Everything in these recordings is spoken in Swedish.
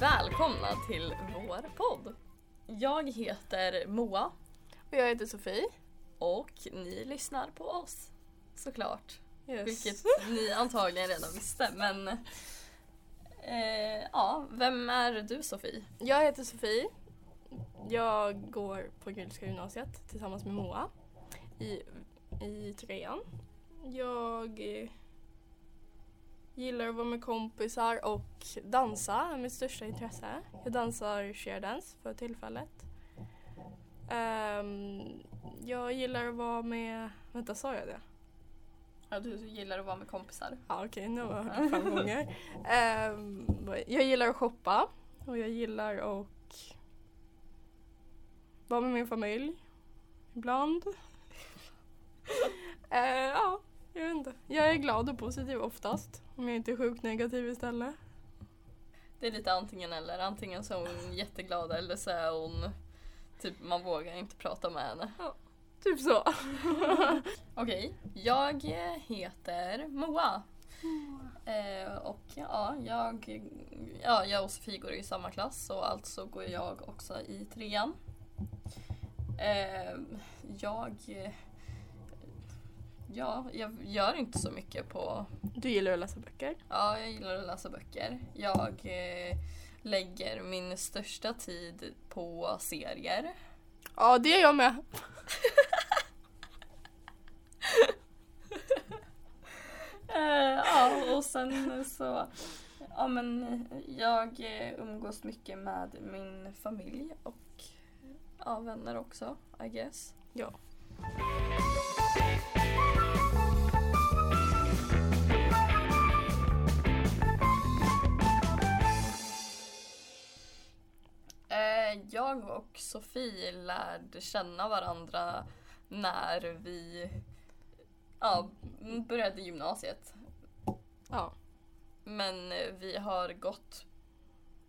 välkomna till vår podd. Jag heter Moa Och jag heter Sofie. och ni lyssnar på oss. Såklart. Yes. Vilket ni antagligen redan visste men... Eh, ja, vem är du Sofie? Jag heter Sofie. Jag går på Gullska gymnasiet tillsammans med Moa i, i trean. Jag eh, gillar att vara med kompisar och dansa är mitt största intresse. Jag dansar sharedance för tillfället. Ehm, jag gillar att vara med... Vänta, sa jag det? Ja, du gillar att vara med kompisar. Ja okej, nu har jag hört det fem gånger. Ehm, jag gillar att shoppa och jag gillar att vara med min familj. Ibland. Eh, ja, jag vet inte. Jag är glad och positiv oftast. Om jag inte är sjukt negativ istället. Det är lite antingen eller. Antingen så är hon jätteglad eller så är hon... Typ man vågar inte prata med henne. Typ så. Okej, jag heter Moa. Eh, och ja, jag, ja, jag och Sofie går i samma klass och alltså går jag också i trean. Eh, jag, ja, jag gör inte så mycket på Du gillar att läsa böcker. Ja, jag gillar att läsa böcker. Jag eh, lägger min största tid på serier. Ja, det är jag med. Eh, ja, och sen så... Ja, men jag eh, umgås mycket med min familj och ja, vänner också, I guess. Ja. Eh, jag och Sofie lärde känna varandra när vi ja, började gymnasiet. Ja. Men eh, vi har gått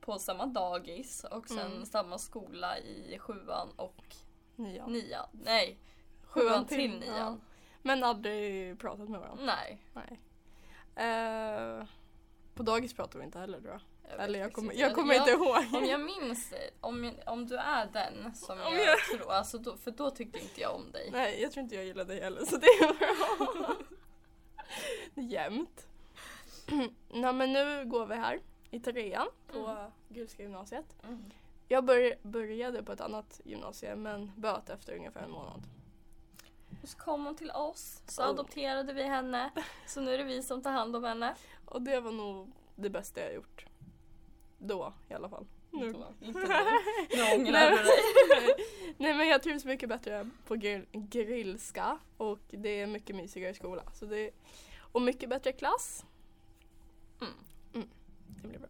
på samma dagis och sen Mm. samma skola i sjuan och Nian. nian. Nej, sjuan till Ja. nian. Men aldrig pratat med varandra. Nej. Nej. Eh, på dagis pratar vi inte heller tror jag. vet Eller jag faktiskt kommer, inte. jag kommer inte ihåg. Om jag minns, om, jag- om du är den som Om jag, jag- tror, alltså då, för då tyckte inte jag om dig. Nej, jag tror inte jag gillar dig heller så det är bra. det är jämnt. Nej men nu går vi här i trean på Mm. Gulska gymnasiet. Mm. Jag bör, började på ett annat gymnasium men böt efter ungefär en månad. Och så kom hon till oss, så Oh. adopterade vi henne, så nu är det vi som tar hand om henne. Och det var nog det bästa jag gjort. Då i alla fall. Nu. Då, Inte nu. Nu ångrar Nej. du dig. Nej men jag trivs mycket bättre på grill, grillska och det är mycket mysigare skola. Så det, och mycket bättre klass. Mm. Mm. Det blir bra.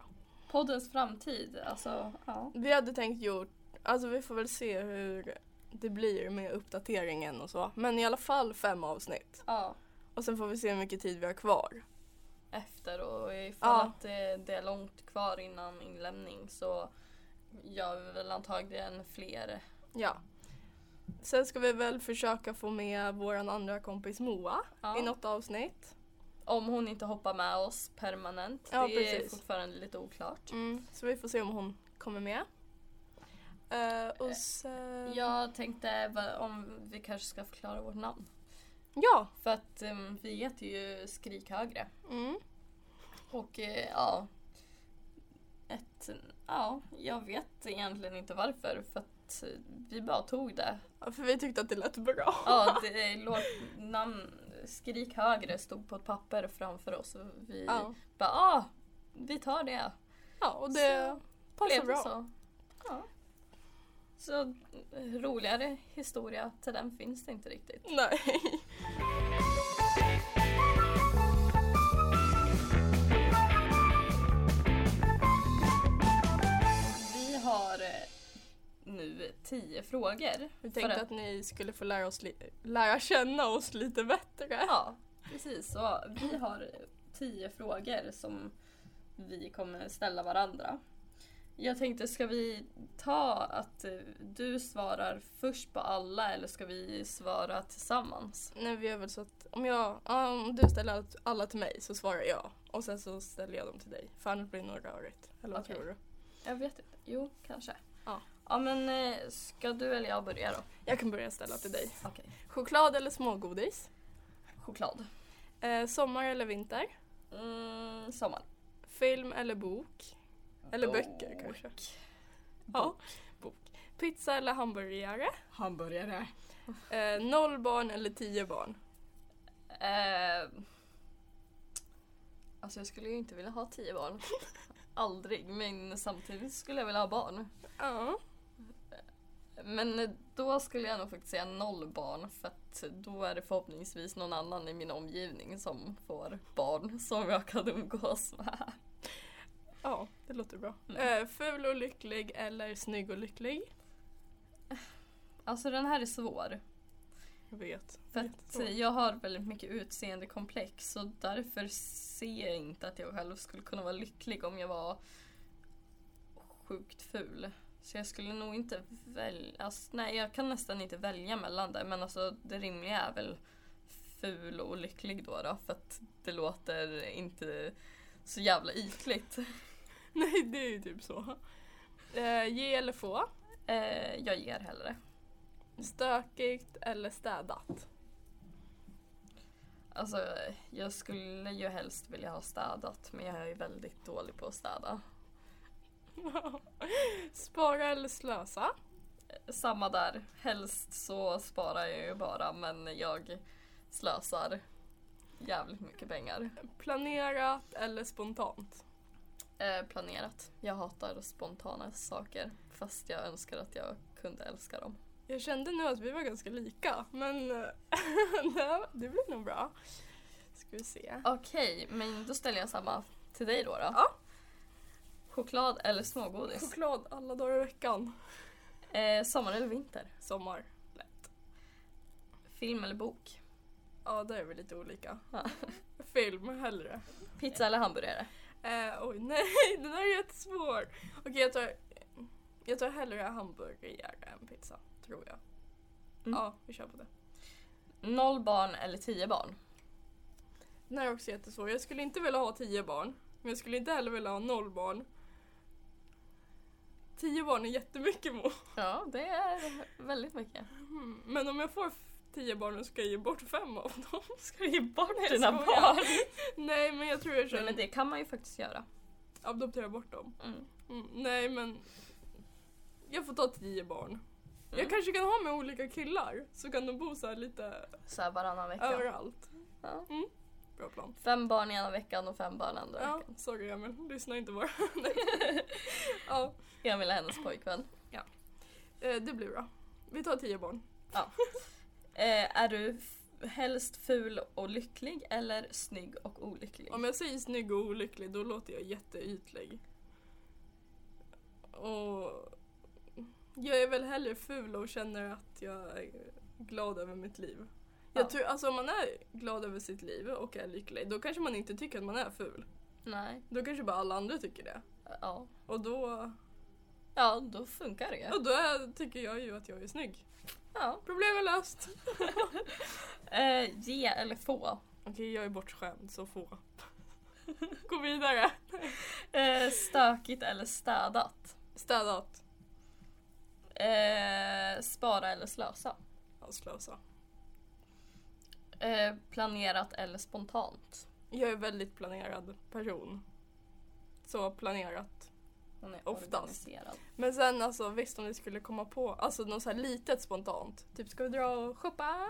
Poddens framtid, alltså. Ja. Vi hade tänkt gjort, alltså vi får väl se hur det blir med uppdateringen och så. Men i alla fall fem avsnitt. ja. Och sen får vi se hur mycket tid vi har kvar. Efter och ifall Ja. att det, det är långt kvar innan inlämning så gör vi väl antagligen fler. Ja. Sen ska vi väl försöka få med vår andra kompis Moa Ja. i något avsnitt. Om hon inte hoppar med oss permanent. Ja, det är precis. fortfarande lite oklart. Mm. Så vi får se om hon kommer med. Eh, och sen... Jag tänkte va- om vi kanske ska förklara vårt namn. Ja. För att em, vi heter ju Skrik högre. Mm. Och eh, ja... Ett, ja, jag vet egentligen inte varför. För att eh, vi bara tog det. Ja, För vi tyckte att det lät bra. Ja, det låg namn... Skrik högre stod på ett papper framför oss. Och vi Ja, bara, ah, vi tar det. ja och det Så passar Blev det bra. Så. Ja. Så eh, roligare historia till den finns det inte riktigt. Nej. Vi har eh, nu tio frågor. Vi tänkte För- att ni skulle få lära, oss li- lära känna oss lite bättre. Ja, precis. Så vi har tio frågor som vi kommer ställa varandra. Jag tänkte, ska vi ta att eh, du svarar först på alla eller ska vi svara tillsammans? Nej, vi gör väl så att om, jag, ja, om du ställer allt- alla till mig så svarar jag och sen så ställer jag dem till dig. För annars blir det nog rörigt. Eller vad Okej. tror du? Jag vet inte. Jo, kanske. Ja. Ja men eh, ska du eller jag börja då? Jag kan börja ställa till dig. Okej. Choklad eller smågodis? Choklad. Eh, sommar eller vinter? Mm, sommar. Film eller bok? Eller Bok. böcker kanske? Ja, bok. Pizza eller hamburgare? Hamburgare. Eh, noll barn eller tio barn? Eh, alltså jag skulle ju inte vilja ha tio barn. Aldrig. Men samtidigt skulle jag vilja ha barn. Ja. Men då skulle jag nog faktiskt säga noll barn för att då är det förhoppningsvis någon annan i min omgivning som får barn som jag kan umgås med. Ja, det låter bra. Mm. Eh, ful och lycklig eller snygg och lycklig? Alltså den här är svår. Jag vet. För Jättesvårt. att jag har väldigt mycket utseendekomplex och därför ser jag inte att jag själv skulle kunna vara lycklig om jag var sjukt ful. Så jag skulle nog inte välja, alltså, nej jag kan nästan inte välja mellan det men alltså det rimliga är väl ful och lycklig då, då för att det låter inte så jävla ytligt. Nej, det är ju typ så. Eh, ge eller få? Eh, jag ger hellre. Stökigt eller städat? Alltså jag skulle ju helst vilja ha städat men jag är ju väldigt dålig på att städa. Spara eller slösa? Samma där. Helst så sparar jag ju bara men jag slösar jävligt mycket pengar. Planerat eller spontant? Eh, planerat. Jag hatar spontana saker fast jag önskar att jag kunde älska dem. Jag kände nu att vi var ganska lika, men eh, det- det blir nog bra. Ska vi se. Okej, men då ställer jag samma till dig då. då. Ja. Choklad eller smågodis? Choklad alla dagar i veckan. Eh, sommar eller vinter? Sommar. Film eller bok? Ja, där är vi lite olika. Ja. Film hellre. Pizza eller hamburgare? Eh, oj, nej, den här är jättesvår. Okej, jag tar, jag tar hellre hamburgare än pizza, tror jag. Mm. Ja, vi kör på det. Noll barn eller tio barn? Den här är också jättesvår. Jag skulle inte vilja ha tio barn, men jag skulle inte heller vilja ha noll barn. Tio barn är jättemycket Mo. Ja, det är väldigt mycket. Mm, Men om jag får f- tio barn så ska jag ge bort fem av dem. Ska du ge bort jag dina skojar. barn? Nej, men jag tror jag Nej, kör... men det kan man ju faktiskt göra. Adoptera bort dem. Mm. Mm, nej, men... Jag får ta tio barn. Mm. Jag kanske kan ha med olika killar, så kan de bo så här lite Så här varannan vecka. överallt. Ja. Bra plan. Fem barn ena veckan och fem barn andra Ja, veckan. sorry Emil, lyssna inte bara. Nej. ja, Emil är hennes pojkvän. eh, det blir bra. Vi tar tio barn. Eh, är du f- helst ful och lycklig eller snygg och olycklig? Om jag säger snygg och olycklig, då låter jag jätteytlig. Och jag är väl hellre ful och känner att jag är glad över mitt liv. Jag Ja. tror, alltså om man är glad över sitt liv och är lycklig, då kanske man inte tycker att man är ful. Nej. Då kanske bara alla andra tycker det. Ja. Och då ja, då funkar det ju. Och då är, tycker jag ju att jag är snygg. Ja. Problem är löst. Eh, ge eller få? Okej, jag är bortskämd så få. Gå vidare. Eh, stökigt eller städat? Städat. Eh, spara eller slösa? Ja, slösa. Eh, planerat eller spontant? Jag är väldigt planerad person. Så planerat. Man är Oftast. organiserad. typ. Men sen alltså visst om vi skulle komma på alltså något så här litet spontant. Typ ska vi dra och shoppa?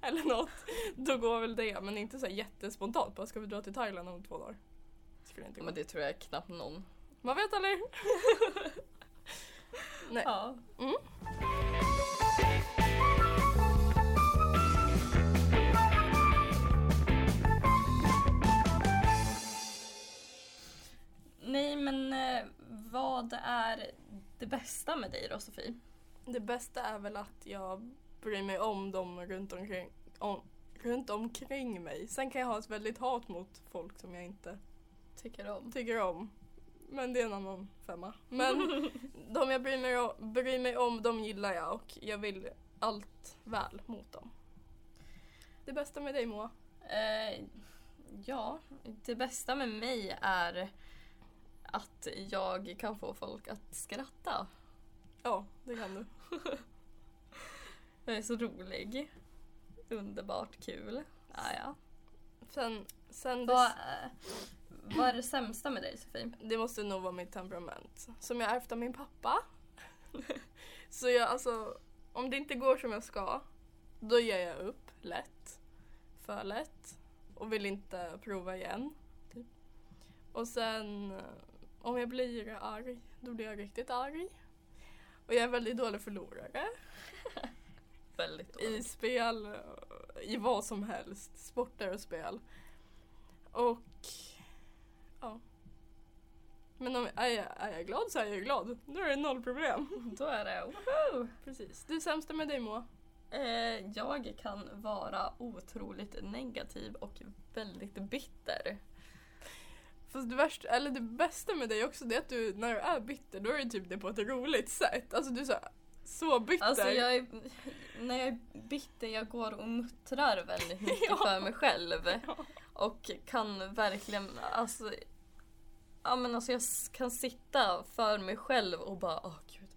Eller något. Då går väl det. Men inte så här jättespontant. Bara ska vi dra till Thailand om två dagar? Skulle inte gå. Men det tror jag knappt någon. Man vet aldrig. Nej. Ja. Mm. Nej men eh, vad är det bästa med dig då Sofie? Det bästa är väl att jag bryr mig om dem runt omkring, om, runt omkring mig. Sen kan jag ha ett väldigt hat mot folk som jag inte Tycker om? tycker om. Men det är en annan femma. Men de jag bryr mig, om, bryr mig om, de gillar jag och jag vill allt väl mot dem. Det bästa med dig Moa? Eh, ja, det bästa med mig är att jag kan få folk att skratta. Ja, det kan du. Jag är så rolig. Underbart kul. Ja, ja. Sen, sen Vad, det, eh, vad är det sämsta med dig Sofie? det måste nog vara mitt temperament. Som jag ärvt av min pappa. Så jag alltså, om det inte går som jag ska, då ger jag upp lätt. För lätt. Och vill inte prova igen. Typ. Och sen, eh, om jag blir arg, då blir jag riktigt arg. Och jag är en väldigt dålig förlorare. Väldigt i spel, eh, i vad som helst, sporter och spel. Och ja. Men om, är, jag, är jag glad så är jag glad. Då är det noll problem. Då är det woho! Precis. Du sämsta med dig Moa? Eh, jag kan vara otroligt negativ och väldigt bitter. Fast det, värsta, eller det bästa med dig också det är att du när du är bitter då är du typ det på ett roligt sätt. Alltså du är så, så bitter. Alltså jag är, när jag är bitter, jag går och muttrar väldigt mycket Ja. för mig själv. Ja. Och kan verkligen, alltså, ja men alltså jag s- kan sitta för mig själv och bara åh gud,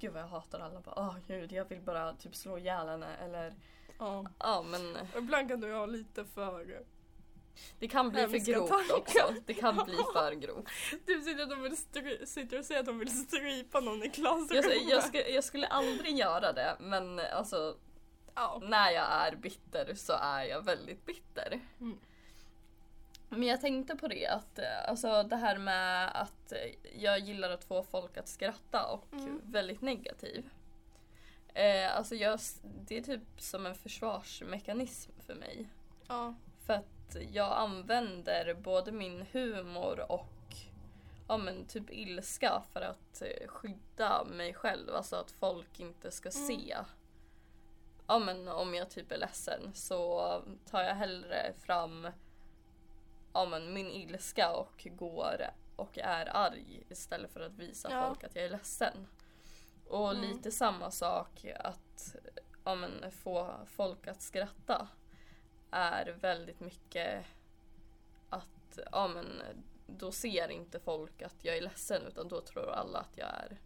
gud vad jag hatar alla. Bara, Åh gud, jag vill bara typ slå ihjäl henne eller Ja. ja men Och ibland kan du ha lite för... det kan bli för Hemska grovt tankar. också. Det kan bli för grovt. Du typ sitter, att de vill stry, sitter och säger att de vill strypa någon i Jag, klassrummet. jag, skulle, jag skulle aldrig göra det men alltså ja. när jag är bitter så är jag väldigt bitter. Mm. Men jag tänkte på det, att eh, alltså, det här med att eh, jag gillar att få folk att skratta och Mm. väldigt negativ. Eh, alltså jag, s- det är typ som en försvarsmekanism för mig. ja. För att jag använder både min humor och ja, men typ ilska för att eh, skydda mig själv. Alltså att folk inte ska Mm. se. Ja, men om jag typ är ledsen så tar jag hellre fram ja, men min ilska och går och är arg istället för att visa Ja. folk att jag är ledsen. Och Mm. lite samma sak att ja, men, få folk att skratta är väldigt mycket att ja, men, då ser inte folk att jag är ledsen utan då tror alla att jag är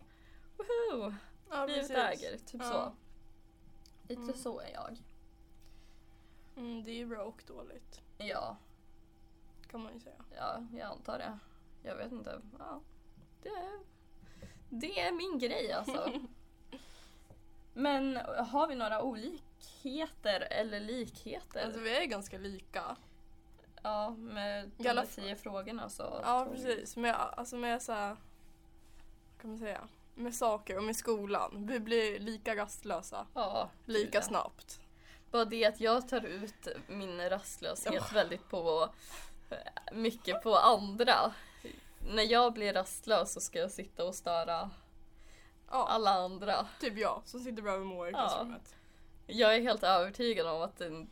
woho, Ja, livet precis. äger. Typ Ja. så. Lite Mm. så är jag. Mm, det är ju bra och dåligt Ja, kan man ju säga. ja, jag antar det. Jag vet inte. Ja, det, är- det är min grej alltså. Men har vi några olikheter eller likheter? Alltså vi är ganska lika. ja, med I de alla där tio frågorna så... Ja tror vi- precis, med, alltså med så här, vad kan man säga, med saker och med skolan. Vi blir lika rastlösa, Ja, lika gud, Typ, ja. snabbt. Bara det att jag tar ut min rastlöshet väldigt på eh, mycket på andra. När jag blir rastlös så ska jag sitta och störa Ja, alla andra. typ jag som sitter bredvid Moa i Ja. klassrummet. Jag är helt övertygad om att den,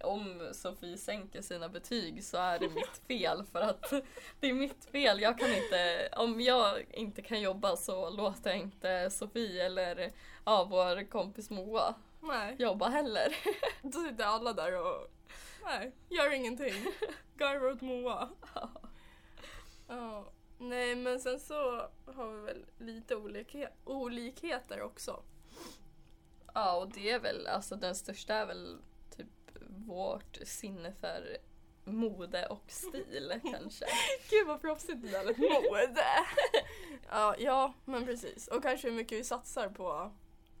om Sofie sänker sina betyg så är det mitt fel för att det är mitt fel. Jag kan inte, om jag inte kan jobba så låter jag inte Sofie eller ja, vår kompis Moa Nej, jobba heller. då sitter alla där och nej, gör ingenting. Garvar åt Moa. Ja. Nej men sen så har vi väl lite olika, olikheter också. Ja, och det är väl, alltså den största är väl typ vårt sinne för mode och stil kanske. Gud vad proffsigt det där lät. Mode! ja, ja, men precis. Och kanske hur mycket vi satsar på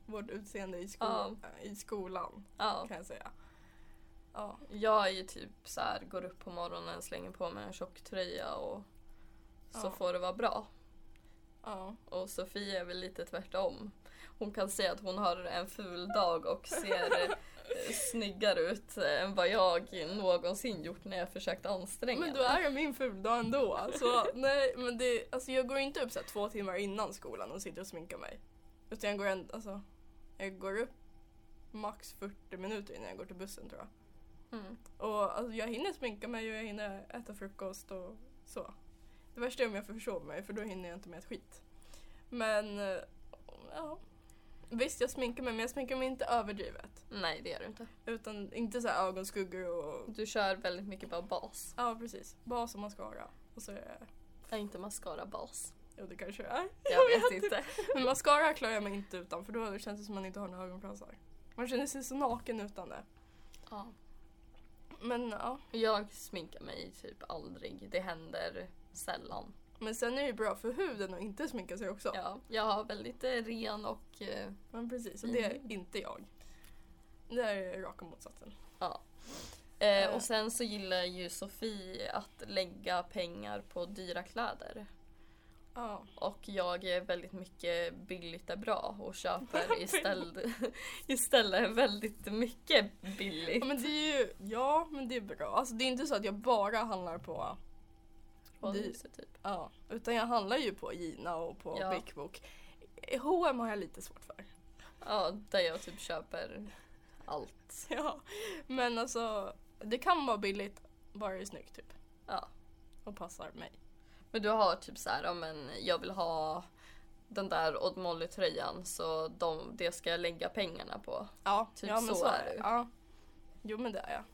vårt utseende i, sko- Ja. i skolan Ja. kan jag säga. Ja, Jag är ju typ så här, går upp på morgonen, slänger på mig en tjock tröja och så Ja. får det vara bra. ja. Och Sofie är väl lite tvärtom. Hon kan säga att hon har en ful dag och ser eh, snyggare ut eh, än vad jag någonsin gjort när jag försökt anstränga Men då är det min fuldag ändå. Så, nej, men det, alltså, jag går inte upp så här, två timmar innan skolan och sitter och sminkar mig. Utan jag går, en, alltså, jag går upp max 40 minuter innan jag går till bussen tror jag. Mm. Och alltså, jag hinner sminka mig och jag hinner äta frukost och så. Det värsta är om jag försover mig för då hinner jag inte med ett skit. Men eh, ja. Visst jag sminkar mig men jag sminkar mig inte överdrivet. Nej, det är du inte. Utan inte så här ögonskuggor och... Du kör väldigt mycket bara bas. Ja precis. Bas och mascara. Och så är det Är inte mascara bas? Jo det kanske det är. Jag vet inte. Men mascara klarar jag mig inte utan för då känns det som att man inte har några ögonfransar. Man känner sig så naken utan det. Ja. Men ja. Jag sminkar mig typ aldrig. Det händer sällan. Men sen är det ju bra för huden att inte sminka sig också. Ja, jag har väldigt eh, ren och eh, Men precis, och det Mm. är inte jag. Det är raka motsatsen. Eh, och sen så gillar ju Sofie att lägga pengar på dyra kläder. Ja. Och jag är väldigt mycket billigt är bra och köper istället, istället väldigt mycket Ja billigt. men det är ju, ja men det är bra. Alltså det är inte så att jag bara handlar på, Från det- huset, typ. ja. Utan jag handlar ju på Gina och på Ja. Big Book. H&M har jag lite svårt för. Ja, där jag typ köper allt. Ja. Men alltså, det kan vara billigt, bara det är snyggt typ. Ja. Och passar mig. Men du har typ så här, ja, men jag vill ha den där Odd Molly-tröjan så de, det ska jag lägga pengarna på. Ja, Typ ja men så så, är är du. det. Ja. Jo men det är jag.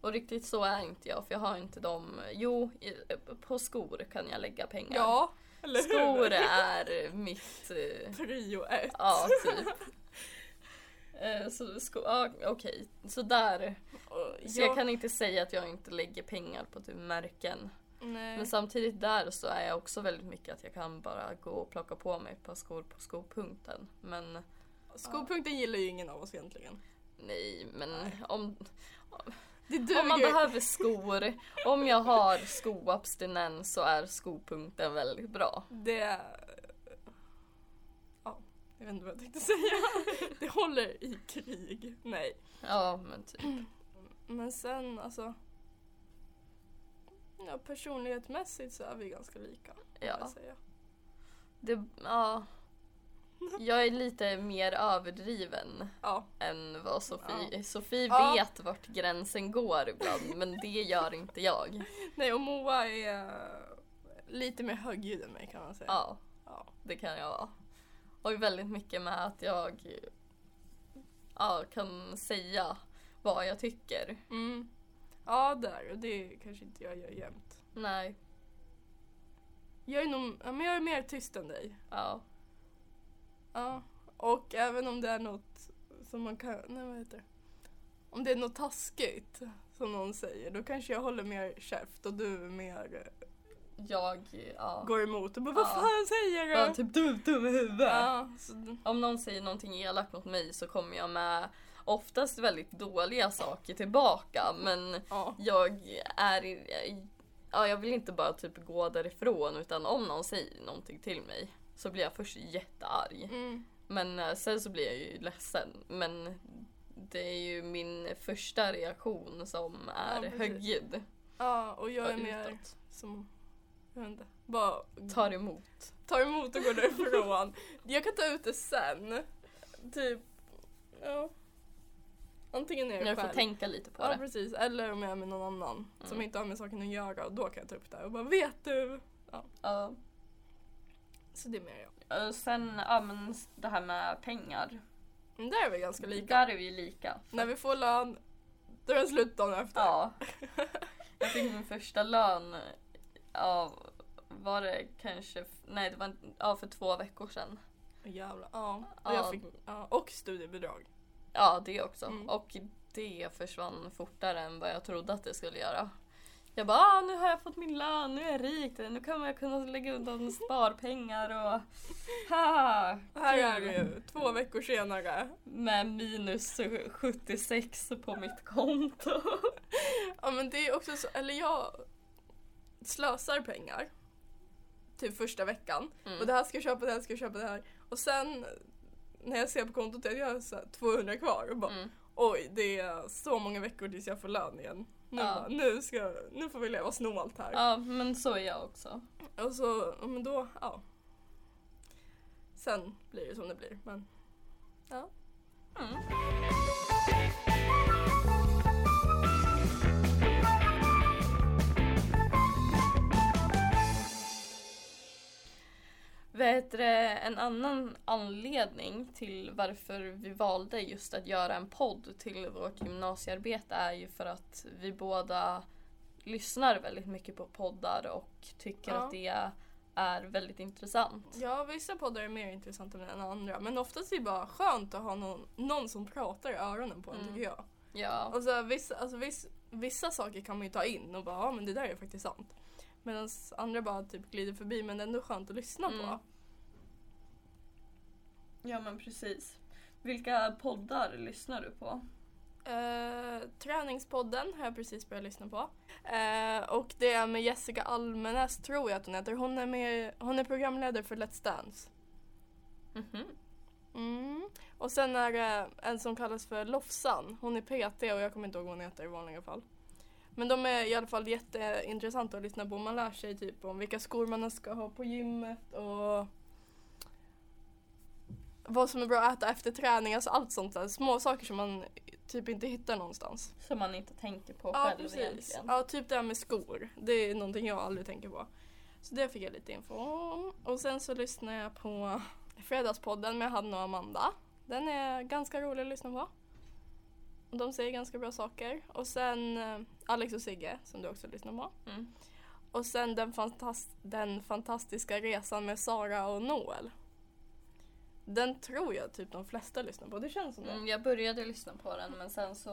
Och riktigt så är inte jag för jag har inte de... Jo, i- på skor kan jag lägga pengar. Ja, eller Skor är mitt... eh, Prio ett. Ja, typ. Eh, Så sko- ja, okej, så där. Och Så jag kan inte säga att jag inte lägger pengar på typ märken. Nej. Men samtidigt där så är jag också väldigt mycket att jag kan bara gå och plocka på mig ett par skor på skopunkten. Men Skopunkten gillar ju ingen av oss egentligen. nej, men om, Det duger. om man behöver skor, om jag har skoabstinens så är skopunkten väldigt bra. Det... Ja, jag vet inte vad jag tänkte säga. Det håller i krig. Nej. Ja, men typ. Men sen alltså... Ja, personlighetsmässigt så är vi ganska lika. vill Ja. jag säga. Det, ja. Jag är lite mer överdriven ja. än vad Sofie... Sofie Ja. vet vart gränsen går ibland, men det gör inte jag. Nej, och Moa är eh, lite mer högljudd än mig kan man säga. Ja, Ja. det kan jag vara. Och väldigt mycket med att jag ja, kan säga vad jag tycker. Mm. Ja, där. Och det kanske inte jag gör jämt. Nej, Jag är, nog, ja, men jag är mer tyst än dig. ja. Ja. Och även om det är något som man kan... Nej, vad heter det? Om det är något taskigt som någon säger, då kanske jag håller mer käft och du är mer eh, Jag, ja. går emot och bara vad Ja. fan säger du? Ja, typ dum, dum i huvudet. Ja, så, d- Om någon säger någonting elakt mot mig så kommer jag med oftast väldigt dåliga saker tillbaka, men ja. jag är... i- Ja, jag vill inte bara typ gå därifrån utan om någon säger någonting till mig så blir jag först jättearg. Mm. Men eh, sen så blir jag ju ledsen. Men det är ju min första reaktion som är precis. högljudd. ja och jag är och mer utåt. som, jag vet inte, bara Tar emot. tar emot och går därifrån. jag kan ta ut det sen. Typ, ja. Antingen är det Jag får själv. tänka lite på Ja det. precis, eller om jag är med någon annan som Mm. inte har med saken att göra och då kan jag ta upp det och bara vet du? Ja. Så det är mer jag. Och sen, ja men det här med pengar. Men där är vi ganska lika. Där är vi lika. När vi får lön, då är det slut dagen efter. Ja. Jag fick min första lön av, var det kanske, nej det var ja, för två veckor sedan. Åh, Jävlar. Ja. Ja. Och, jag fick, ja. och studiebidrag. Ja det också. Mm. Och det försvann fortare än vad jag trodde att det skulle göra. Jag bara ah, nu har jag fått min lön, nu är jag rik, nu kommer jag kunna lägga undan sparpengar och ha, Och här kul. är vi Mm. ju, två veckor senare. Med minus 76 på mitt konto. Ja men det är också så, eller jag slösar pengar. Typ första veckan. Och Mm. det här ska jag köpa, det här ska jag köpa, det här. Och sen när jag ser på kontot att jag har så här 200 kvar och bara Mm. Oj, det är så många veckor tills jag får lön igen. Nu, Ja. bara, nu, ska, nu får vi leva snålt här. Ja men så är jag också. Och så, ja, men då, ja. Sen blir det som det blir, men ja. Mm. Vet du, en annan anledning till varför vi valde just att göra en podd till vårt gymnasiearbete är ju för att vi båda lyssnar väldigt mycket på poddar och tycker Ja. att det är väldigt intressant. Ja, vissa poddar är mer intressanta än andra men oftast är det bara skönt att ha någon, någon som pratar i öronen på en Mm. tycker jag. Ja. Alltså, vissa, alltså, viss, vissa saker kan man ju ta in och bara ja men det där är faktiskt sant. Medan andra bara typ glider förbi men det är ändå skönt att lyssna Mm. på. ja men precis. Vilka poddar lyssnar du på? Eh, träningspodden har jag precis börjat lyssna på. Eh, och det är med Jessica Almenäs tror jag att hon heter. Hon är, med, hon är programledare för Let's Dance. Mhm. Mm. Och sen är det en som kallas för Lofsan. Hon är PT och jag kommer inte ihåg vad hon heter i vanliga fall. Men de är i alla fall jätteintressanta att lyssna på. Man lär sig typ om vilka skor man ska ha på gymmet och vad som är bra att äta efter träning. Alltså allt sånt där. Små saker som man typ inte hittar någonstans. Som man inte tänker på Ja, själv precis. egentligen. Ja, typ det här med skor. Det är någonting jag aldrig tänker på. Så det fick jag lite info om. Och sen så lyssnar jag på Fredagspodden med Hanna och Amanda. Den är ganska rolig att lyssna på. Och De säger ganska bra saker. Och sen eh, Alex och Sigge, som du också lyssnar på. Mm. Och sen den, fantas- den fantastiska resan med Sara och Noel. Den tror jag typ de flesta lyssnar på. Det känns som det. Mm, jag började lyssna på den men sen så...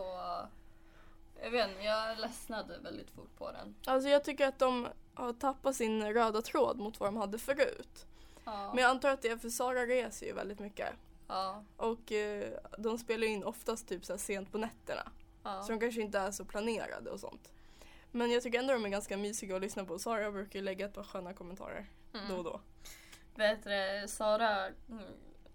Jag vet inte, jag ledsnade väldigt fort på den. Alltså jag tycker att de har tappat sin röda tråd mot vad de hade förut. Ja. Men jag antar att det är för Sara reser ju väldigt mycket. ja. Och eh, de spelar ju in oftast typ så här sent på nätterna. ja. Så de kanske inte är så planerade och sånt. Men jag tycker ändå de är ganska mysiga att lyssna på. Sara brukar ju lägga ett par sköna kommentarer Mm. då och då. Vet du, Sara mm,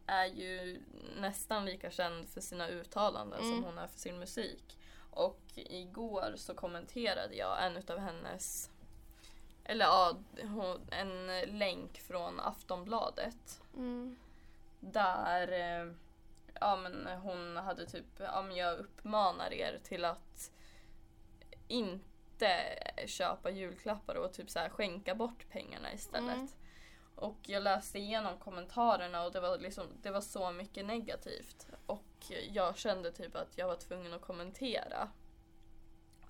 är ju nästan lika känd för sina uttalanden som Mm. hon är för sin musik. Och igår så kommenterade jag en utav hennes, eller ja, hon- en länk från Aftonbladet. Där eh, ja, men hon hade typ, ja, men jag uppmanar er till att inte köpa julklappar och typ så här, skänka bort pengarna istället. Mm. Och jag läste igenom kommentarerna och det var, liksom, det var så mycket negativt. Och jag kände typ att jag var tvungen att kommentera.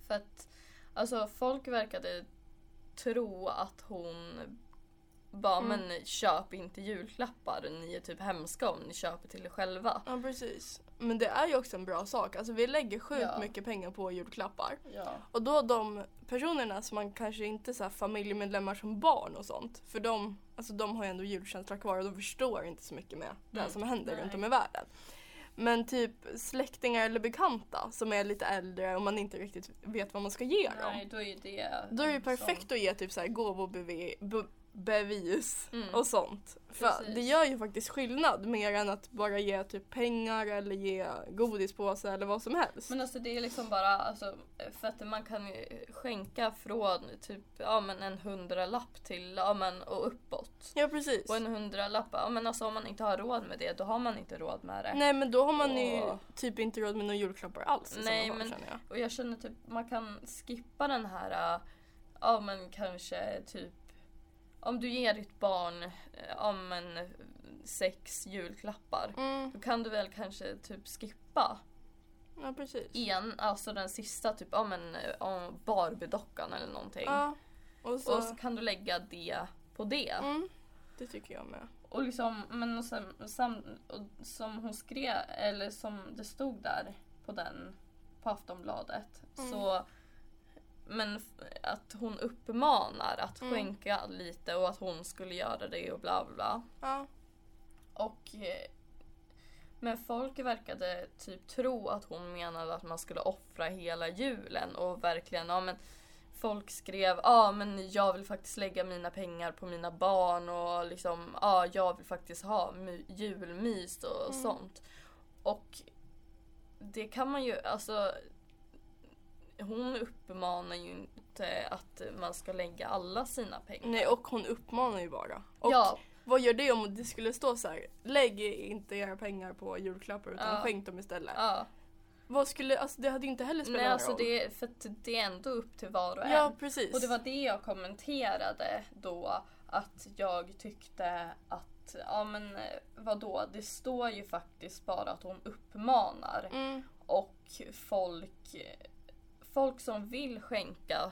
För att alltså, folk verkade tro att hon bara, Mm. men köp inte julklappar, ni är typ hemska om ni köper till er själva. Ja precis. Men det är ju också en bra sak. Alltså vi lägger sjukt Ja. mycket pengar på julklappar. Ja. Och då de personerna som man kanske inte så här familjemedlemmar som barn och sånt. För de, alltså de har ju ändå julkänsla kvar och de förstår inte så mycket med det här Mm. som händer Nej. runt om i världen. Men typ släktingar eller bekanta som är lite äldre och man inte riktigt vet vad man ska Nej, ge Mm, dem. då är det... Då är det ju som- perfekt att ge typ så här gåvobevis Mm. och sånt. För Precis. det gör ju faktiskt skillnad mer än att bara ge typ pengar eller ge godispåse eller vad som helst. Men alltså det är liksom bara, alltså, för att man kan ju skänka från typ ja, men en hundralapp till ja, men, och uppåt. ja precis. Och en hundralapp, ja, men alltså, om man inte har råd med det då har man inte råd med det. Nej men då har man Åh. ju typ inte råd med några julklappar alls i Nej, Nej, fall, men- men... känner jag. Och jag känner typ man kan skippa den här, äh, ja men kanske typ om du ger ditt barn äh, ja, men, sex julklappar då kan du väl kanske typ skippa Mm. Ja precis. en, alltså den sista typ, ja men äh, om Barbiedockan eller någonting. Ja. Och så... Och så kan du lägga det på det. mm. Det tycker jag med. Och liksom, men och sen, och sen, och som hon skrev, eller som det stod där på den, på Aftonbladet. Mm. Så, men f- att hon uppmanar att Mm. skänka lite och att hon skulle göra det och bla bla bla. Ja. Och, eh, men folk verkade typ tro att hon menade att man skulle offra hela julen och verkligen, ja men folk skrev ja men jag vill faktiskt lägga mina pengar på mina barn och liksom ja jag vill faktiskt ha my- julmys och Mm. sånt. Och det kan man ju, alltså hon uppmanar ju inte att man ska lägga alla sina pengar. Nej och hon uppmanar ju bara. Och ja, vad gör det om det skulle stå så här? lägg inte era pengar på julklappar utan Ja. skänk dem istället. ja. Vad skulle, alltså det hade ju inte heller spelat Nej, någon alltså roll. det, för att det är ändå upp till var och en. Ja precis. och det var det jag kommenterade då, att jag tyckte att, ja men eh, vadå, det står ju faktiskt bara att hon uppmanar. Mm. Och folk, folk som vill skänka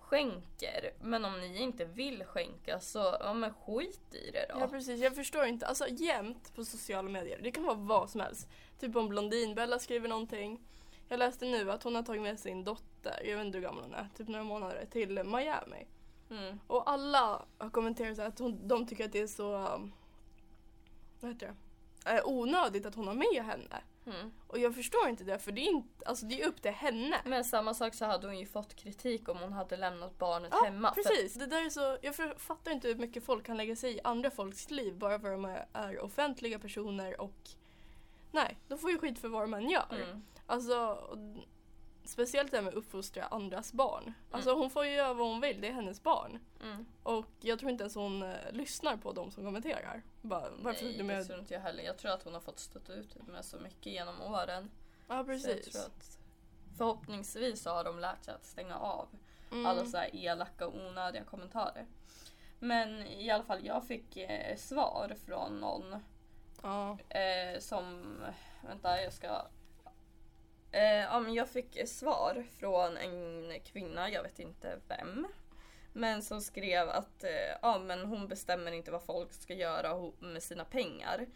skänker. Men om ni inte vill skänka så ja, men skit i det då. Ja precis, jag förstår inte. Alltså jämt på sociala medier, det kan vara vad som helst. Typ om Blondinbella skriver någonting. Jag läste nu att hon har tagit med sin dotter, jag vet inte hur gammal hon är, typ några månader, till Miami. Mm. Och alla har kommenterat så här att hon, de tycker att det är så, um, vad heter det, eh, onödigt att hon har med henne. Mm. Och jag förstår inte det för det är, inte, alltså, det är upp till henne. Men samma sak så hade hon ju fått kritik om hon hade lämnat barnet Ja, hemma. För- precis. Det där är så, jag för- fattar inte hur mycket folk kan lägga sig i andra folks liv bara för att de är offentliga personer och nej, de får ju skit för vad man gör. Mm. Alltså, och, d- speciellt det här med att uppfostra andras barn. Alltså hon får ju göra vad hon vill, det är hennes barn. Mm. Och jag tror inte ens hon eh, lyssnar på de som kommenterar. Bara, varför Nej, du det med? tror inte jag heller. Jag tror att hon har fått stöta ut typ med så mycket genom åren. Ja, Så jag tror precis. att förhoppningsvis så har de lärt sig att stänga av Mm. alla så här elaka och onödiga kommentarer. Men i alla fall, jag fick eh, svar från någon Ja. eh, som... Vänta, jag ska... Eh, ja, men jag fick eh, svar från en kvinna, jag vet inte vem. Men som skrev att eh, ja, men hon bestämmer inte vad folk ska göra ho- med sina pengar.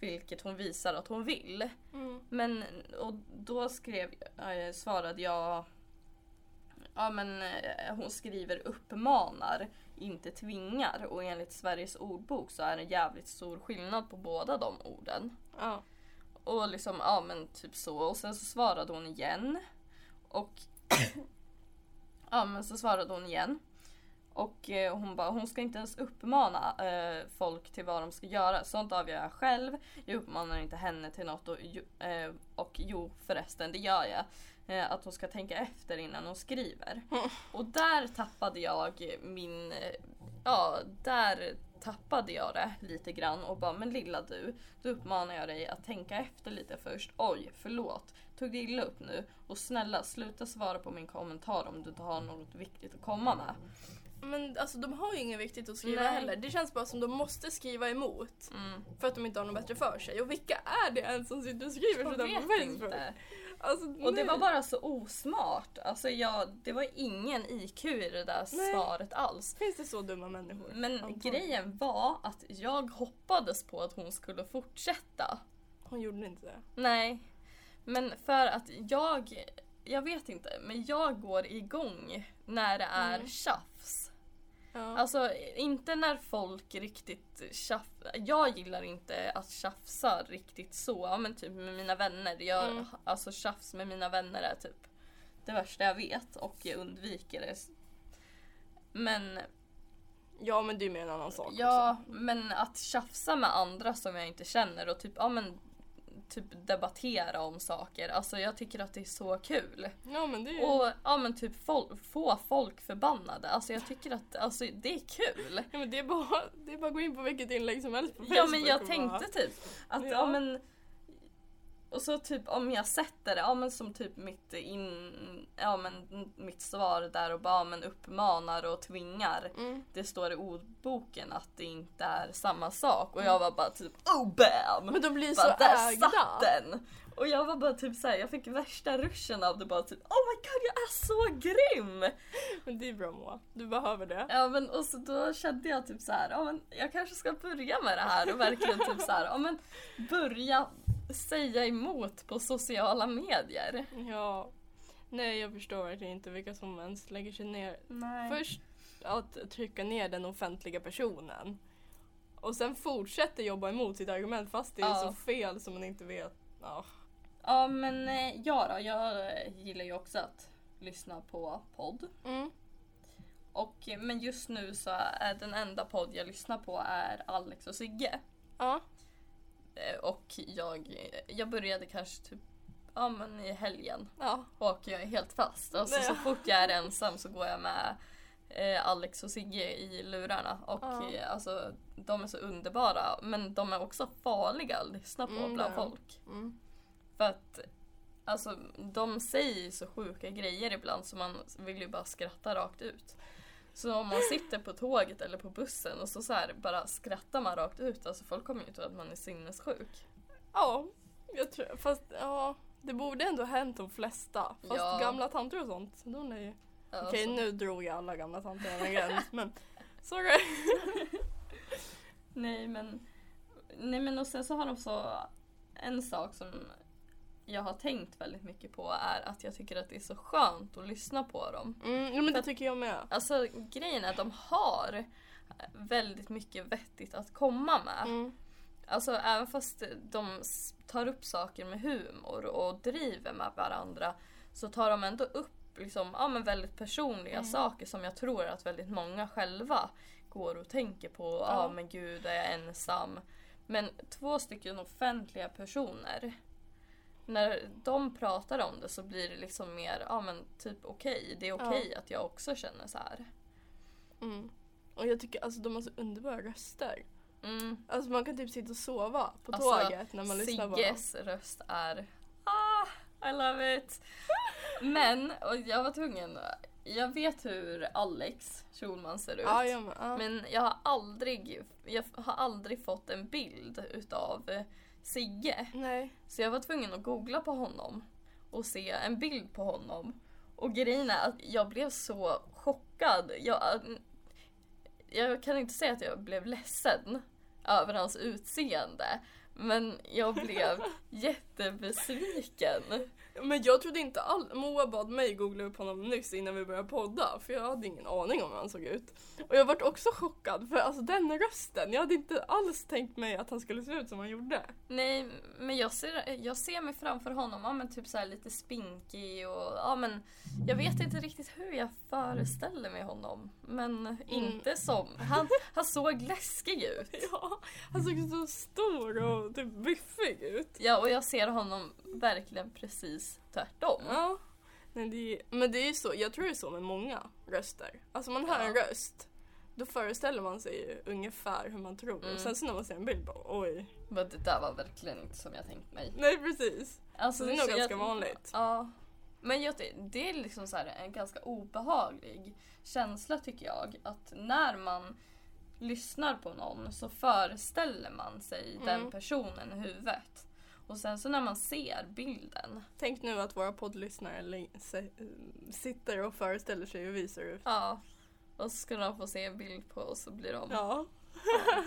Vilket hon visar att hon vill. Mm. Men och då skrev, eh, svarade jag Ja men eh, hon skriver uppmanar, inte tvingar och enligt Sveriges ordbok så är det jävligt stor skillnad på båda de orden. Ja. Och liksom, ja men typ så. Och sen så svarade hon igen. Och... ja men så svarade hon igen. Och eh, hon bara, hon ska inte ens uppmana eh, folk till vad de ska göra. Sånt avgör jag själv. Jag uppmanar inte henne till något. Och, ju, eh, och jo förresten, det gör jag. Eh, att hon ska tänka efter innan hon skriver. Och där tappade jag min... eh, Ja, där tappade jag det lite grann och bara, men lilla du. Då uppmanar jag dig att tänka efter lite först. Oj, förlåt. Tog det illa upp nu? Och snälla, sluta svara på min kommentar om du inte har något viktigt att komma med. Men alltså de har ju inget viktigt att skriva Nej. heller. Det känns bara som de måste skriva emot. Mm. För att de inte har något bättre för sig. Och vilka är det ens som sitter och skriver Jag sådär på vet Facebook? inte. Alltså, Och det nej. var bara så osmart. Alltså jag, det var ingen IQ i det där Nej. svaret alls. Finns det så dumma människor? Men Antagligen. grejen var att jag hoppades på att hon skulle fortsätta. Hon gjorde inte det. Nej. Men för att jag, jag vet inte, men jag går igång när det är Mm. tjafs. Ja. Alltså inte när folk riktigt tjafsar. Jag gillar inte att tjafsa riktigt så. Ja, Men typ med mina vänner. Jag, Mm. Alltså tjafs med mina vänner är typ det värsta jag vet och jag undviker det. Men, ja men det är ju mer en annan sak ja, men att tjafsa med andra som jag inte känner och typ, ja, men, typ debattera om saker. Alltså jag tycker att det är så kul. också. Ja men det är ju... Och ja, men typ fol- få folk förbannade. Alltså jag tycker att alltså, det är kul. Ja, men det, är bara, det är bara att gå in på vilket inlägg som helst på Facebook Ja men jag och bara- tänkte typ att ja. Ja. men och så typ om jag sätter det, ja men som typ mitt, in, ja, men mitt svar där och bara ja, men uppmanar och tvingar. Mm. Det står i ordboken att det inte är samma sak och jag var bara typ oh bam! Mm. Men de blir så Bara, där ägda. satt den! Och jag var bara typ såhär, jag fick värsta ruschen av det bara typ oh my god jag är så grym! Men det är bra Moa, du behöver det. Ja men och så då kände jag typ så här, ja men jag kanske ska börja med det här och verkligen typ så här, ja men börja säga emot på sociala medier. Ja. Nej jag förstår verkligen inte vilka som ens lägger sig ner. Nej. Först att trycka ner den offentliga personen. Och sen fortsätter jobba emot sitt argument fast det är Ja. så fel som man inte vet. Ja. Ja men eh, ja då, jag eh, gillar ju också att lyssna på podd. Och, eh, men just nu så är den enda podd jag lyssnar på är Alex och Sigge. Ja. Eh, Och jag, jag började kanske typ ja, men i helgen. ja. och jag är helt fast. Alltså, Nej. så fort jag är ensam så går jag med eh, Alex och Sigge i lurarna. Och Ja. eh, alltså, de är så underbara men de är också farliga att lyssna på Mm, bland det är de. folk. För att alltså, de säger ju så sjuka grejer ibland så man vill ju bara skratta rakt ut. Så om man sitter på tåget eller på bussen och så, så här, bara skrattar man rakt ut, alltså folk kommer ju tro att man är sinnessjuk. Ja, jag tror, fast ja, det borde ändå ha hänt de flesta. Fast Ja. gamla tanter och sånt, de är ju... Ja, Okej, så- nu drog jag alla gamla tanter över en gräns, men sorry. Nej men, nej men och sen så har de så en sak som jag har tänkt väldigt mycket på är att jag tycker att det är så skönt att lyssna på dem. Mm, jo, men det tycker jag med. Alltså grejen är att de har väldigt mycket vettigt att komma med. Mm. Alltså även fast de s- tar upp saker med humor och driver med varandra så tar de ändå upp liksom, ja, men väldigt personliga Mm. saker som jag tror att väldigt många själva går och tänker på. Ja Ja. men gud, är jag ensam? Men två stycken offentliga personer när de pratar om det så blir det liksom mer, ja men typ okej, det är Ja. okej att jag också känner så här. Mm. Och jag tycker alltså de har så underbara röster. Mm. Alltså man kan typ sitta och sova på Alltså, tåget när man lyssnar på dem. Sigges röst är ah, I love it. Men, och jag var tvungen, jag vet hur Alex Schulman ser ut. Ja, jag med. Ja. Men jag har aldrig, jag har aldrig fått en bild utav eh, Sigge. Nej. Så jag var tvungen att googla på honom och se en bild på honom. Och grejen är att jag blev så chockad. Jag, jag kan inte säga att jag blev ledsen över hans utseende. Men jag blev jättebesviken. Men jag trodde inte alls... Moa bad mig googla upp honom nyss innan vi började podda för jag hade ingen aning om hur han såg ut. Och jag vart också chockad för alltså den rösten, jag hade inte alls tänkt mig att han skulle se ut som han gjorde. Nej, men jag ser, jag ser mig framför honom, ja, men typ så här lite spinkig och ja, men jag vet inte riktigt hur jag föreställer mig honom. Men inte som, han, han såg läskig ut. Ja, han såg så stor och typ biffig ut. Ja, och jag ser honom verkligen precis tvärtom. Ja. Nej, det är, men det är ju så, jag tror det är så med många röster. Alltså man hör en Ja. röst, då föreställer man sig ju ungefär hur man tror. Mm. Och sen så när man ser en bild bara oj. Men det där var verkligen inte som jag tänkt mig. Nej precis. Alltså, Så det är nog jag- ganska vanligt. Ja. Men jag, ty- det är liksom så här en ganska obehaglig känsla tycker jag. Att när man lyssnar på någon så föreställer man sig Mm. den personen i huvudet. Och sen så när man ser bilden. Tänk nu att våra poddlyssnare li- se- sitter och föreställer sig hur vi ser ut. Ja. Och så ska de få se en bild på oss så blir de... Ja.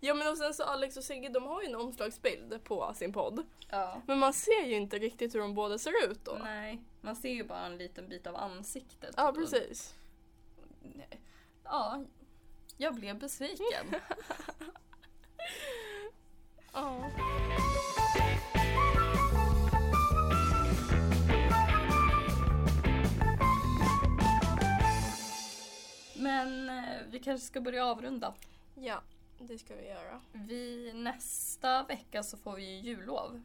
ja men och sen så Alex och Sigge de har ju en omslagsbild på sin podd. ja. Men man ser ju inte riktigt hur de båda ser ut då. Nej. Man ser ju bara en liten bit av ansiktet. Ja Och- precis. Nej. Ja, jag blev besviken. Ja. Men eh, vi kanske ska börja avrunda. ja, det ska vi göra. Vi, nästa vecka så får vi ju jullov.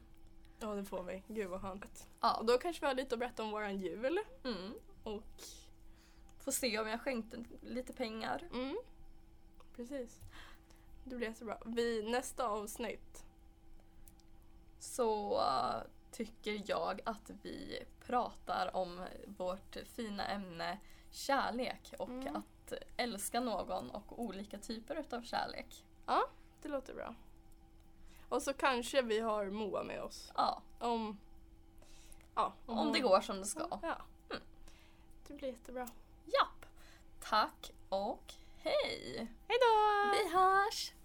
Ja det får vi. Gud vad skönt. Ja. Och då kanske vi har lite att berätta om våran jul. Mm. Och... Får se om jag skänkte lite pengar. Mm. Precis. Det blir jättebra. Vi, nästa avsnitt. Så eh, tycker jag att vi pratar om vårt fina ämne kärlek och Mm. att älska någon och olika typer utav kärlek. Det låter bra. Och så kanske vi har Moa med oss. Ja, Om... Ja, om det går som det ska. Ja. Mm. Det blir jättebra. Japp! Tack och hej! Hejdå! Vi hörs!